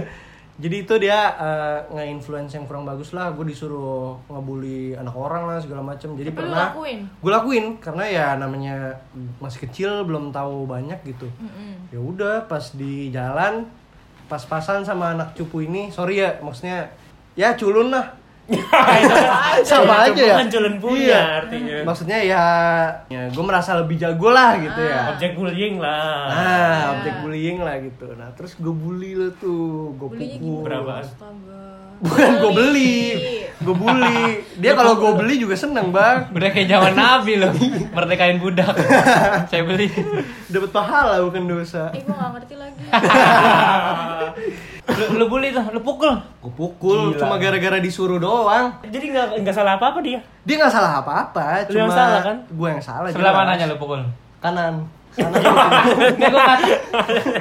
Jadi itu dia eh, nge-influence yang kurang bagus lah. Gue disuruh ngebully anak orang lah segala macem. Jadi
Tapi lu
pernah
lakuin?
gue lakuin karena ya namanya masih kecil belum tahu banyak gitu. Ya udah pas di jalan pas-pasan sama anak cupu ini, sorry ya maksudnya ya culun lah. sama aja ya.
Bukan culun punya
Iya.
artinya
Maksudnya ya, ya gue merasa lebih jago lah gitu ya.
objek bullying lah
Nah, objek bullying lah gitu. Nah, terus gue bully lo tuh, gue
Belinya
pukul.
gimana?
Berapa?
Astaga.
Bukan gue beli, gue bully. Dia kalau gue beli juga seneng bang,
Udah kayak zaman Nabi loh. Merdekain budak. Saya beli.
dapat pahala bukan dosa.
Ih, Eh, gua gak ngerti lagi.
Lu, lu bully tuh, lu pukul.
Gue pukul,
Gila.
cuma gara-gara disuruh doang.
jadi nggak nggak salah apa apa dia
Dia nggak salah apa-apa,
Lu
cuma
yang salah, kan?
gue yang salah.
Sebelah
jelas.
mananya lu pukul?
Kanan.
Nggak, gua nggak tahu.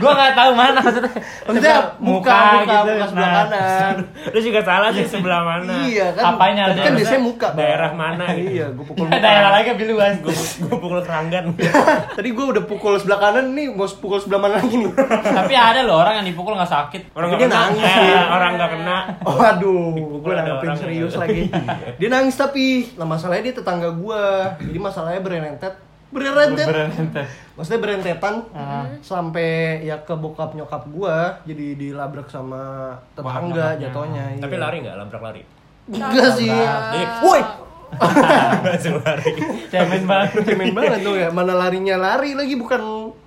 Gua nggak tahu mana maksudnya.
Maksudnya
Sebelah
muka, kan? muka,
gitu,
muka sebelah
nah.
kanan.
Lu juga salah sih sebelah mana.
Iya kan.
Apanya
Tapi kan
harusnya?
biasanya muka. Bang.
Daerah mana gitu.
Iya, gue pukul muka.
Daerah lagi lebih luas.
Gue pukul keranggan.
Tadi gue udah pukul sebelah kanan nih, mau pukul sebelah mana lagi nih?
Tapi ada loh orang yang dipukul nggak sakit.
Orang
Tapi
nggak
dia
kena.
nangis Oh.
Eh,
sih.
orang nggak kena.
Waduh, gue
ada
nanggepin
orang
serius
yang-
lagi. Dia nangis tapi, nah masalahnya dia tetangga gue. Jadi masalahnya berentet, berentet.
Berentet.
Maksudnya berentetan
Ah.
sampai ya ke bokap nyokap gue, jadi dilabrak sama tetangga jatuhnya. iya.
Tapi lari nggak? Labrak lari.
Enggak sih.
Jadi,
Woi,
Langsung lari.
Cemen banget.
cemen banget tuh ya. Mana larinya lari lagi bukan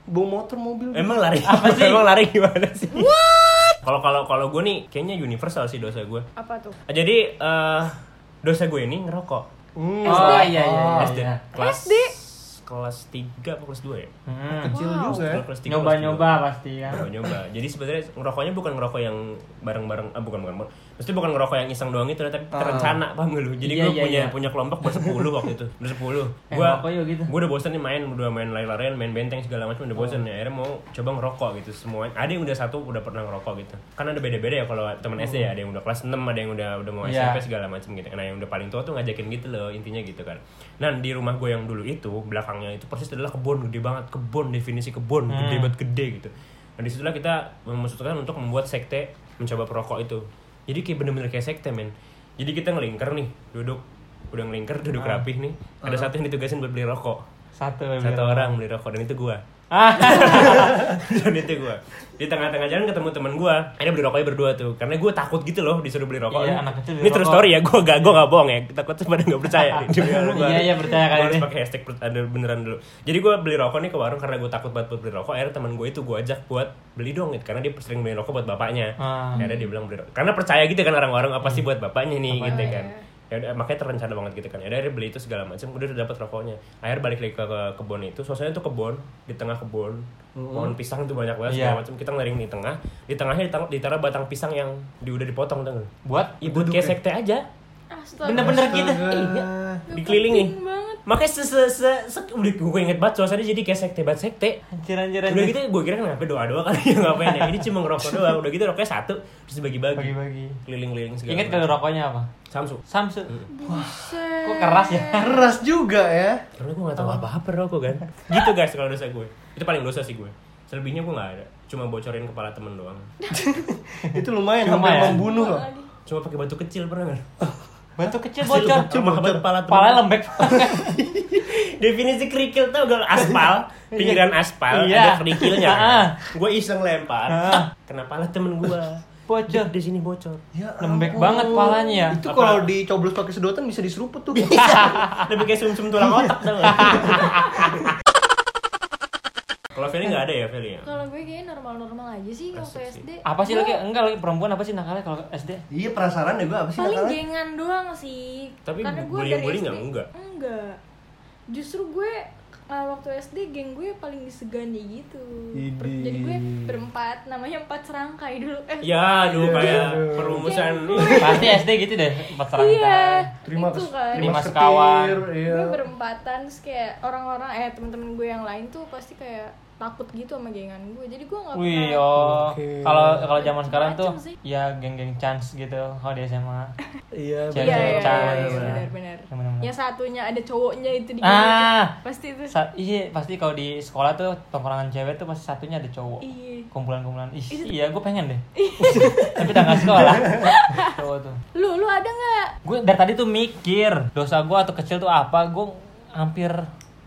bawa motor mobil.
Emang lari apa sih? Emang lari gimana sih? Kalau kalau kalau gue nih kayaknya universal sih dosa gue.
apa tuh
Jadi eh dosa gue ini ngerokok.
Hmm,
Oh
Ah.
iya iya. iya.
SD. Kelas
SD?
kelas 3 atau kelas 2 ya?
Hmm.
kecil juga. ya.
Kelas tiga, kelas dua.
Nyoba-nyoba pasti kan.
Nyoba, nyoba. Jadi sebenarnya ngerokoknya bukan ngerokok yang bareng-bareng, ah, bukan bukan. Mesti bukan ngerokok yang iseng doang itu, tapi terencana paham gak lu? Jadi
Ah. Iya,
gue
iya,
punya
iya.
punya kelompok bersepuluh waktu itu, bersepuluh.
Eh,
Gue
ngerokok yuk gitu.
gue udah bosan nih main, udah main lari-larian, main benteng segala macam udah
Oh.
bosan. Ya, akhirnya mau coba ngerokok gitu semua. Ada yang udah satu udah pernah ngerokok gitu. Kan ada beda-beda ya kalau teman SD ya, ada yang udah kelas 6, ada yang udah udah mau
Hmm. Iya.
SMP segala macam gitu. Nah yang udah paling tua tuh ngajakin gitu loh intinya gitu kan. Nah di rumah gue yang dulu itu belakangnya itu persis adalah kebun gede banget, kebun definisi kebun gede banget gede gitu. Nah disitulah kita memutuskan untuk membuat sekte mencoba perokok itu. Jadi kayak bener-bener kayak sekte men. Jadi kita ngelingkar nih, duduk udah ngelingkar duduk rapih nih. Ada satu yang ditugasin buat beli rokok.
Satu.
Satu orang beli rokok dan itu gua.
Ah.
dan itu gua. Di tengah-tengah jalan ketemu teman gua. Akhirnya beli rokoknya berdua tuh. Karena gua takut gitu loh disuruh beli rokok.
Iya, anak kecil beli
Ini terus
rokok.
story ya, gua gak gua gak bohong ya. Takut pada nggak percaya nih. Demi Allah, gua
Iya,
harus-
iya, percaya kali
gua harus
ini.
pakai hashtag per- ada beneran dulu. Jadi gua beli rokok nih ke warung karena gua takut banget buat beli rokok. Akhirnya teman gua itu gua ajak buat beli dong gitu. karena dia sering beli rokok buat bapaknya.
Ah.
Akhirnya Ya dia bilang beli rokok. Karena percaya gitu kan orang-orang apa sih buat bapaknya nih gitu kan. Ya udah, makanya terencana banget gitu kan. Ya udah, akhirnya beli itu segala macam, udah udah dapat rokoknya. Akhirnya balik lagi ke, ke kebun itu, suasananya tuh kebun, di tengah kebun. Pohon pisang tuh banyak banget segala
Iya.
macam. Kita ngering di tengah, di tengahnya ditang- ditaruh batang pisang yang di, udah dipotong tuh.
Buat
Ibu kayak sekte aja,
astaga
bener-bener gitu.
Astaga.
dikelilingi.
penting banget.
Makanya se se se, se- udah gue inget banget suasananya jadi kayak sekte banget sekte.
Anjir anjir
Udah
anjir.
gitu gue kira kenapa doa-doa kali ya ngapain ya. Ini cuma ngerokok doang. Udah gitu rokoknya satu terus dibagi-bagi.
Bagi-bagi.
Keliling-keliling segala.
Ingat
macam.
kalau rokoknya apa?
Samsu.
Samsu. Kok keras ya?
Keras juga ya.
Karena gue gak tau
Oh.
apa-apa rokok kan Gitu guys kalau dosa gue Itu paling dosa sih gue Selebihnya gue gak ada Cuma bocorin kepala temen doang
Itu lumayan,
Cuma
hampir
ya?
membunuh loh.
Lagi.
Cuma pakai batu kecil pernah gak?
Batu kecil bocor.
Cuma batu kepala temen
Kepalanya lembek.
Definisi kerikil tau gak aspal Pinggiran aspal
Iya.
Ada kerikilnya
Ah.
kan? Gue iseng lempar
Ah.
Kena pala temen gue
Bocor.
Di sini bocor
Ya
Lembek
ampun.
banget palanya ya.
Itu kalau dicoblos pakai sedotan bisa diseruput tuh.
Lebih kayak sum-sum tulang otak tau gak? Kalau Feli gak ada ya Feli ya?
kalau gue kayaknya normal-normal aja sih waktu
Asik sih.
SD
Apa sih
Gue
lagi? Enggak lagi perempuan apa sih nakalnya kalau SD?
Iya penasaran deh gue apa sih
paling
nakalnya?
gengan doang sih
Tapi
karena gue dari
bullying-bullying
SD
nggak? Enggak.
enggak justru gue uh, waktu SD geng gue paling disegani gitu Per-
Idih.
jadi gue berempat namanya empat serangkai dulu eh
Iya,
Ya aduh kayak
Aduh.
perumusan
Pasti SD gitu deh, empat serangkai.
Terima
iya, itu
kasih.
terima
kan
Terima
kasih kawan.
setir, Iya.
gue berempatan terus kayak orang-orang eh temen-temen gue yang lain tuh pasti kayak takut gitu sama gengan gue jadi gue nggak
Wih,
pernah
oh.
Oke.
Kalau kalau zaman sekarang tuh
Macem sih.
ya geng-geng chance gitu kalau di SMA.
Iya.
Iya,
iya
cewek
iya
cewek.
iya, benar-benar
Yang benar-benar.
yang satunya ada cowoknya itu di
Ah.
pasti itu
Sa- iya, pasti kalau di sekolah tuh tongkrongan cewek tuh pasti satunya ada cowok.
iya
Kumpulan-kumpulan. Ih, iya, gue pengen deh. Tapi udah nggak sekolah. Cowok tuh.
lu lu ada nggak
Gue dari tadi tuh mikir dosa gue atau kecil tuh apa? Gue hampir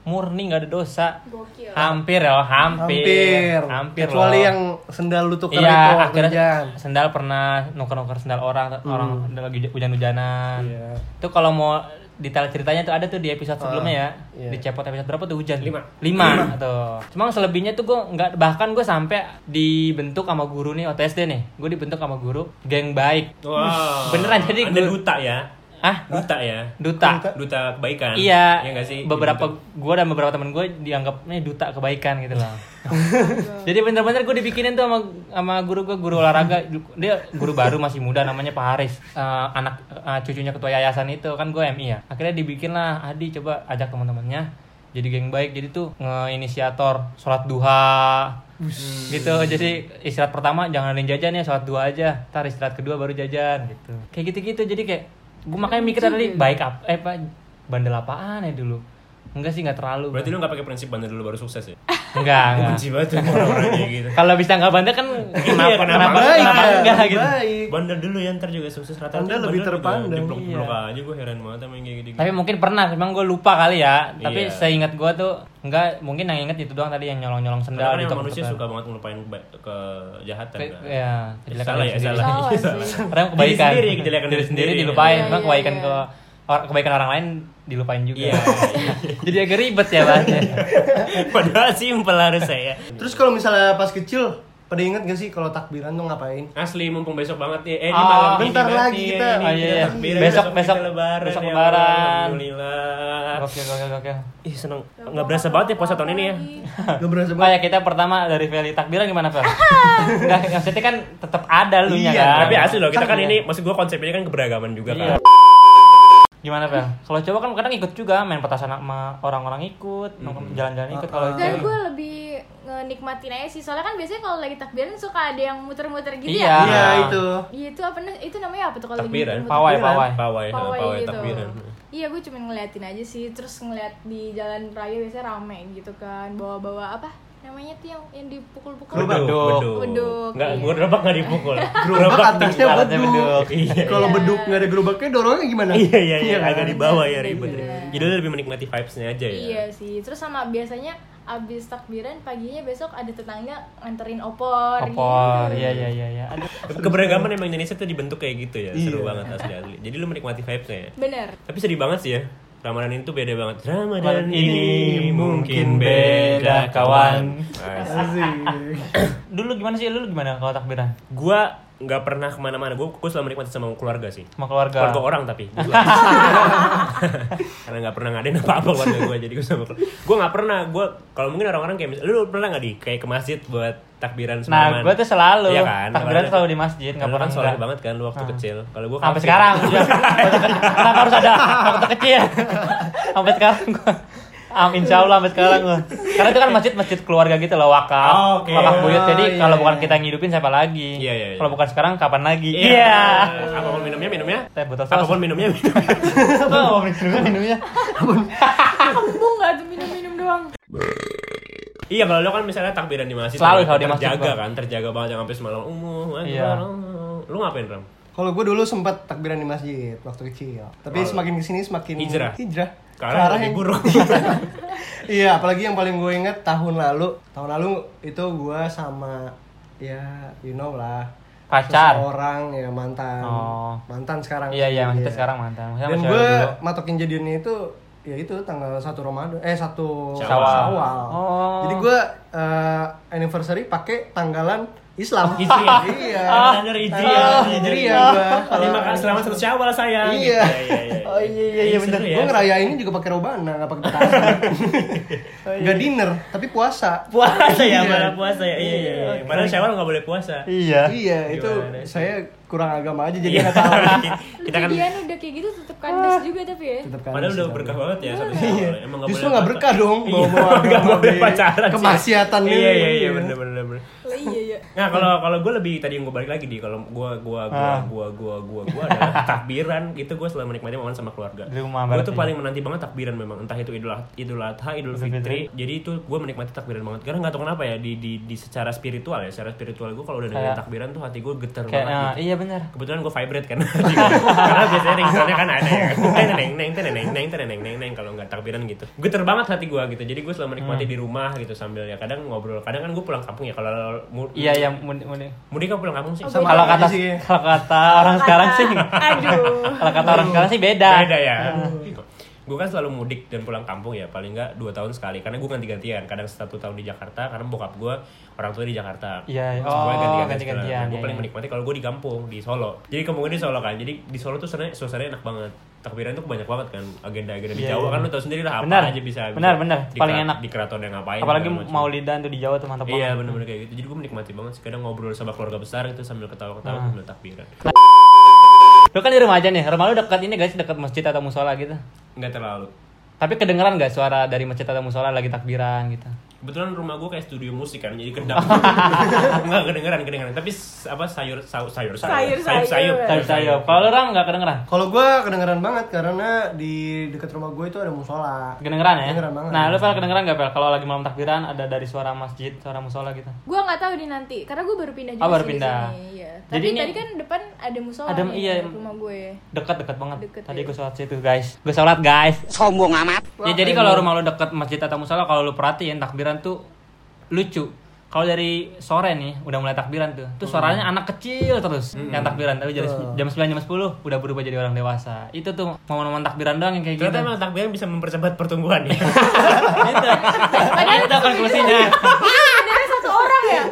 murni nggak ada dosa.
gokil
Ah,
Hampir ya, hampir.
Hampir.
Hampir
Kecuali
loh.
yang sendal lu tuker
Iya,
itu waktu
akhirnya
gitu, hujan.
sendal pernah nuker-nuker sendal orang, orang udah lagi huj- hujan-hujanan.
Iya.
Itu kalau mau detail ceritanya tuh ada tuh di episode sebelumnya ya.
iya.
Di Cepot episode berapa tuh hujan?
Lima.
Lima, tuh. Cuma selebihnya tuh gue nggak bahkan gue sampai dibentuk sama guru nih waktu SD nih. Gue dibentuk sama guru geng baik.
Wow.
Beneran, jadi
Anda
gue-
duta ya?
Ah,
Duta ya?
duta.
Duta kebaikan.
Iya,
Iya nggak sih?
beberapa
Duta.
gue dan beberapa temen gue dianggap ini duta kebaikan gitu loh. Jadi bener-bener gue dibikinin tuh sama, sama guru gue guru olahraga dia guru baru masih muda namanya Pak Haris Eh, anak eh, cucunya ketua yayasan itu kan gue MI ya akhirnya dibikin lah Adi coba ajak teman-temannya jadi geng baik jadi tuh ngeinisiator sholat duha gitu jadi istirahat pertama jangan ada yang jajan ya sholat duha aja ntar istirahat kedua baru jajan gitu kayak gitu gitu jadi kayak gue makanya mikir tadi baik apa eh pak bandel apaan ya dulu enggak sih enggak terlalu
Berarti lu gak pakai prinsip bandel dulu baru sukses ya?
enggak
Ah.
enggak
Benci banget tuh orang-orangnya gitu.
kalau bisa nggak bandel kan kenapa
kenapa
kenapa,
baik
kenapa
ya,
enggak gitu
baik.
Bandel dulu ya ntar juga sukses rata-rata.
Bandel lebih
juga
terpandang, iya.
Diblok-blok aja gue heran banget sama yang kayak gitu.
Tapi mungkin pernah, emang gue lupa kali ya. Tapi
Iya.
seingat gue tuh enggak, mungkin yang inget itu doang tadi yang nyolong-nyolong
Karena
sendal
kan
di
emang
toko
manusia
toko.
suka banget ngelupain keba- kejahatan
Ke-
kan.
ya, kejelekan
Salah
diri
ya,
sendiri.
salah.
Salah sih.
Karena kebaikan
sendiri, kejelekan
diri
diri
sendiri
sendiri.
dilupain,
Iya,
emang
iya,
kebaikan
iya.
ke or- kebaikan orang lain dilupain juga.
Iya.
Jadi agak ribet ya bahasnya.
Padahal simpel harus saya.
Terus kalau misalnya pas kecil, pada inget gak sih kalau takbiran tuh ngapain?
Asli mumpung besok banget nih. Eh, ini
Ah,
malam ini
bentar
berarti ya,
lagi kita.
ini
Oh, iya, iya.
takbiran,
Besok-
kita
besok-
lebaran.
besok
ya,
lebaran.
Alhamdulillah.
Oke, oke, oke.
Ih, seneng. Nggak berasa banget ya puasa tahun ini ya.
Gak berasa banget.
Kayak kita pertama dari Feli takbiran gimana, Fel? Enggak, maksudnya kan tetap ada lu nya
Iya,
kan.
Tapi asli loh, kita
Kan
kan ini maksud gue konsep ini kan keberagaman juga
Iya.
kan.
Gimana, Fel? Kalau cowok kan kadang ikut juga main petasan sama orang-orang
Hmm.
ikut, nongkrong jalan-jalan ikut kalau
Dan
cewek-
gue lebih nikmatin aja sih, soalnya kan biasanya kalau lagi takbiran suka ada yang muter-muter gitu
Iya.
ya.
Iya itu.
Itu apa na- itu namanya apa tuh kalau lagi
Takbiran.
muter-muter?
Pawai, pawai.
Pawai, nah,
gitu. Pawai
pawai
gitu.
takbiran.
Iya, gue cuma ngeliatin aja sih, terus ngeliat di jalan raya biasanya rame gitu kan, bawa-bawa apa namanya tuh yang, yang dipukul-pukul.
Gerobak.
Beduk,
Enggak,
iya.
gua gerobak enggak dipukul.
Gerobak atasnya
ibaratnya
beduk.
beduk.
Iya.
Kalau beduk nggak ada gerobaknya dorongnya gimana?
Iya iya iya,
kan?
agak di bawah ya ribet.
Iya.
Jadi lu lebih menikmati vibes-nya aja ya.
Iya sih, terus sama biasanya abis takbiran paginya besok ada tetangga nganterin opor,
Opor,
gitu.
iya iya iya iya. Aduh.
Keberagaman emang Indonesia tuh dibentuk kayak gitu ya, seru banget asli asli. Jadi lu menikmati vibes-nya ya.
Bener.
Tapi sedih banget sih ya. Ramadan ini tuh beda banget. Ramadan
ini mungkin beda, kawan.
Nice.
Asik.
Dulu gimana sih lu gimana kalau takbiran?
Gua nggak pernah kemana-mana. Gua, gua selalu menikmati sama keluarga sih.
Sama keluarga.
Keluarga orang tapi gua. Karena nggak pernah ngadain apa-apa keluarga gue Jadi gue sama keluarga Gue nggak pernah Gue kalau mungkin orang-orang kayak mis- Lu pernah nggak di Kayak ke masjid buat takbiran
Nah,
semalaman
gue tuh selalu
Iya kan?
takbiran
Makanya-
selalu di masjid, nggak
Karena
pernah
kan soleh
nggak.
banget ya. kan lu waktu
Ah.
kecil Kalau gue
Sampai sekarang. udah. Kenapa harus ada waktu kecil? Sampai sekarang gue. Am, insya Allah sampai sekarang gue. Karena itu kan masjid-masjid keluarga gitu loh, wakaf,
Oh, oke.
wakaf buyut. Jadi
Oh, iya,
kalau
iya.
bukan kita yang ngidupin siapa lagi?
Iya, iya, iya.
Kalau bukan sekarang kapan lagi?
Iya Apapun minumnya minumnya
Teh botol saus.
Apapun minumnya minumnya
Oh, minumnya minumnya.
Kembung gak tuh minum-minum doang.
Iya kalau lu kan misalnya takbiran di masjid
Selalu
kan
kalau di masjid,
Terjaga
Bang.
kan Terjaga banget jangan sampai semalam Umuh
Iya.
Iya Lu ngapain Ram?
Kalau gue dulu sempat takbiran di masjid waktu kecil. Tapi semakin kesini semakin
Oh. Hijrah.
Hijrah.
Ke arah lebih buruk
iya, apalagi yang paling gue inget tahun lalu. Tahun lalu itu gue sama ya you know lah.
Pacar.
Orang ya mantan.
Oh.
Mantan sekarang.
Iya, iya, maksudnya sekarang mantan. Maksudnya
Dan
masih
gue
dulu.
matokin jadiannya itu ya itu tanggal 1 Ramadan eh 1
Syawal.
Oh.
Jadi gue eh, anniversary pakai tanggalan Islam.
Hijriah.
iya.
Kalender Iya, Hijriah.
Ah,
ya,
Hijriah
iya.
gua.
Terima kasih selamat satu Syawal sayang.
Iya.
Gitu.
Oh iya iya
Ini
iya bener.
seru
ya.
ya.
Gue ngerayainnya juga pakai robana, nggak pakai petasan.
Oh, iya.
Gak dinner, tapi puasa.
puasa ya,
Iya.
malah puasa ya. Iya iya. iya. Padahal Syawal enggak boleh puasa.
Iya.
Iya, itu
Gimana sih?
saya kurang agama aja
Iya.
jadi nggak tahu.
Lu
Kita kan
jadian udah kayak gitu tetep kandas juga tapi ya.
Tetep kan
padahal udah
Islam.
berkah banget ya satu Syawal. Emang enggak boleh.
Iya. Justru nggak berkah dong
Iya,
bawa-bawa
nggak
agama
boleh
di
pacaran. sih.
kemaksiatan ini.
Iya iya iya bener bener bener.
Oh, iya iya.
Nah kalau kalau gue lebih tadi yang gue balik lagi di kalau gue gue gue
Ah.
gue gue gue gue adalah takbiran itu gue selalu menikmati momen sama keluarga.
Di rumah
Gue
berarti. ya?
tuh paling menanti banget takbiran memang entah itu idul Ad- idul adha idul fitri. Jadi itu gue menikmati takbiran banget karena nggak tahu kenapa ya di di, di secara spiritual ya secara spiritual gue kalau udah dengerin
Kayak-
takbiran tuh hati gue geter
Kayak
banget.
eh,
gitu.
iya benar.
Kebetulan gue vibrate kan Karena biasanya ringtone kan ada ya Teneng neng neng teneng neng neng teneng neng neng neng Kalau nggak takbiran gitu Geter banget hati gue gitu Jadi gue selalu menikmati
Hmm.
di rumah gitu Sambil ya kadang ngobrol Kadang kan gue pulang kampung ya Kalau mu-
Iya, iya, mun- mun-
Mudik apa pulang kampung sih?
Oh,
Sama.
kalau
aja
kata
sih.
kalau kata orang sekarang sih
Aduh.
kalau kata orang sekarang sih beda
Beda ya. Gue kan selalu mudik dan pulang kampung ya paling nggak dua tahun sekali karena gue ganti-gantian kadang satu tahun di Jakarta karena bokap gue orang tua di Jakarta.
Iya, iya.
Terus
Oh,
gua sekarang.
ganti-gantian,
Nah, gue
iya,
paling
iya.
menikmati kalau gue di kampung di Solo. Jadi kampungnya di Solo kan. Jadi di Solo tuh sebenarnya suasananya enak banget. Takbiran tuh banyak banget kan agenda-agenda di
Iya,
Jawa
iya.
kan lu tau sendiri lah apa
Benar.
aja bisa.
Benar,
bisa
benar.
di
Paling
kera-
enak.
Di keraton yang ngapain.
apalagi
segala macam.
maulidan tuh di Jawa tuh mantap
Iya
banget
bener-bener kayak gitu. Jadi gue menikmati banget sih kadang ngobrol sama keluarga besar itu sambil
Ah.
ketawa-ketawa sambil takbiran.
lu kan di rumah aja nih rumah lu dekat ini guys dekat masjid atau musola gitu
Nggak terlalu.
Tapi kedengeran nggak suara dari masjid atau musola lagi takbiran gitu?
Kebetulan rumah gue kayak studio musik kan, jadi kedap. Enggak kedengeran, kedengeran. Tapi s- apa sayur sayur sayur sayur
Sayur,
sayur sayur.
sayur.
Iya,
Tapi saya, kalau lu, ram nggak kedengeran?
Kalau gua kedengeran banget karena di dekat rumah gue itu ada musola.
Kedengeran ya?
Kedengeran banget.
Nah, lu pel kedengeran nggak pel? Kalau lagi malam takbiran ada dari suara masjid, suara musola gitu?
Gue nggak tahu di nanti, karena gue baru pindah juga
Oh, baru
sih di
pindah.
sini, Iya.
Jadi
Tapi
ini-
tadi kan depan ada musola
Ada-
nih,
iya.
dekat rumah gue.
Dekat-dekat banget.
Deket,
Tadi
ya.
gue sholat situ guys. Gue sholat guys.
sombong amat.
Ya jadi kalau rumah lu deket masjid atau musola kalau lu perhatiin takbiran tuh lucu. Kalau dari sore nih udah mulai takbiran tuh. Tuh suaranya anak kecil terus yang takbiran tapi jadi jam 9 jam 10 udah berubah jadi orang dewasa. Itu tuh momen-momen takbiran doang yang kayak gitu.
Ternyata emang takbiran bisa mempercepat pertumbuhan ya.
Gitu. Itu konklusinya.
Sebenarnya satu orang ya.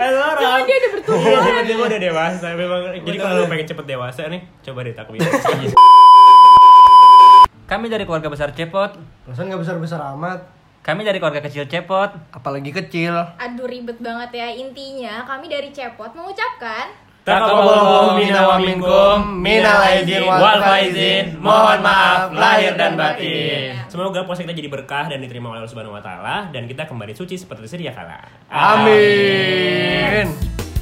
Cuma dia udah bertumbuh.
Tiba-tiba udah dewasa memang. Jadi kalau lu pengen cepet dewasa nih, coba deh takbiran.
Kami dari keluarga besar Cepot.
Perasaan nggak besar besar amat,
Kami dari keluarga kecil Cepot.
apalagi kecil.
Aduh ribet banget ya intinya kami dari Cepot mengucapkan
Takaballahu minna wa minkum,
minal aidin wal faizin, mohon maaf
lahir dan batin. Semoga puasa kita jadi berkah dan diterima oleh Allah Subhanahu wa taala dan kita kembali suci seperti sedia kala.
Amin.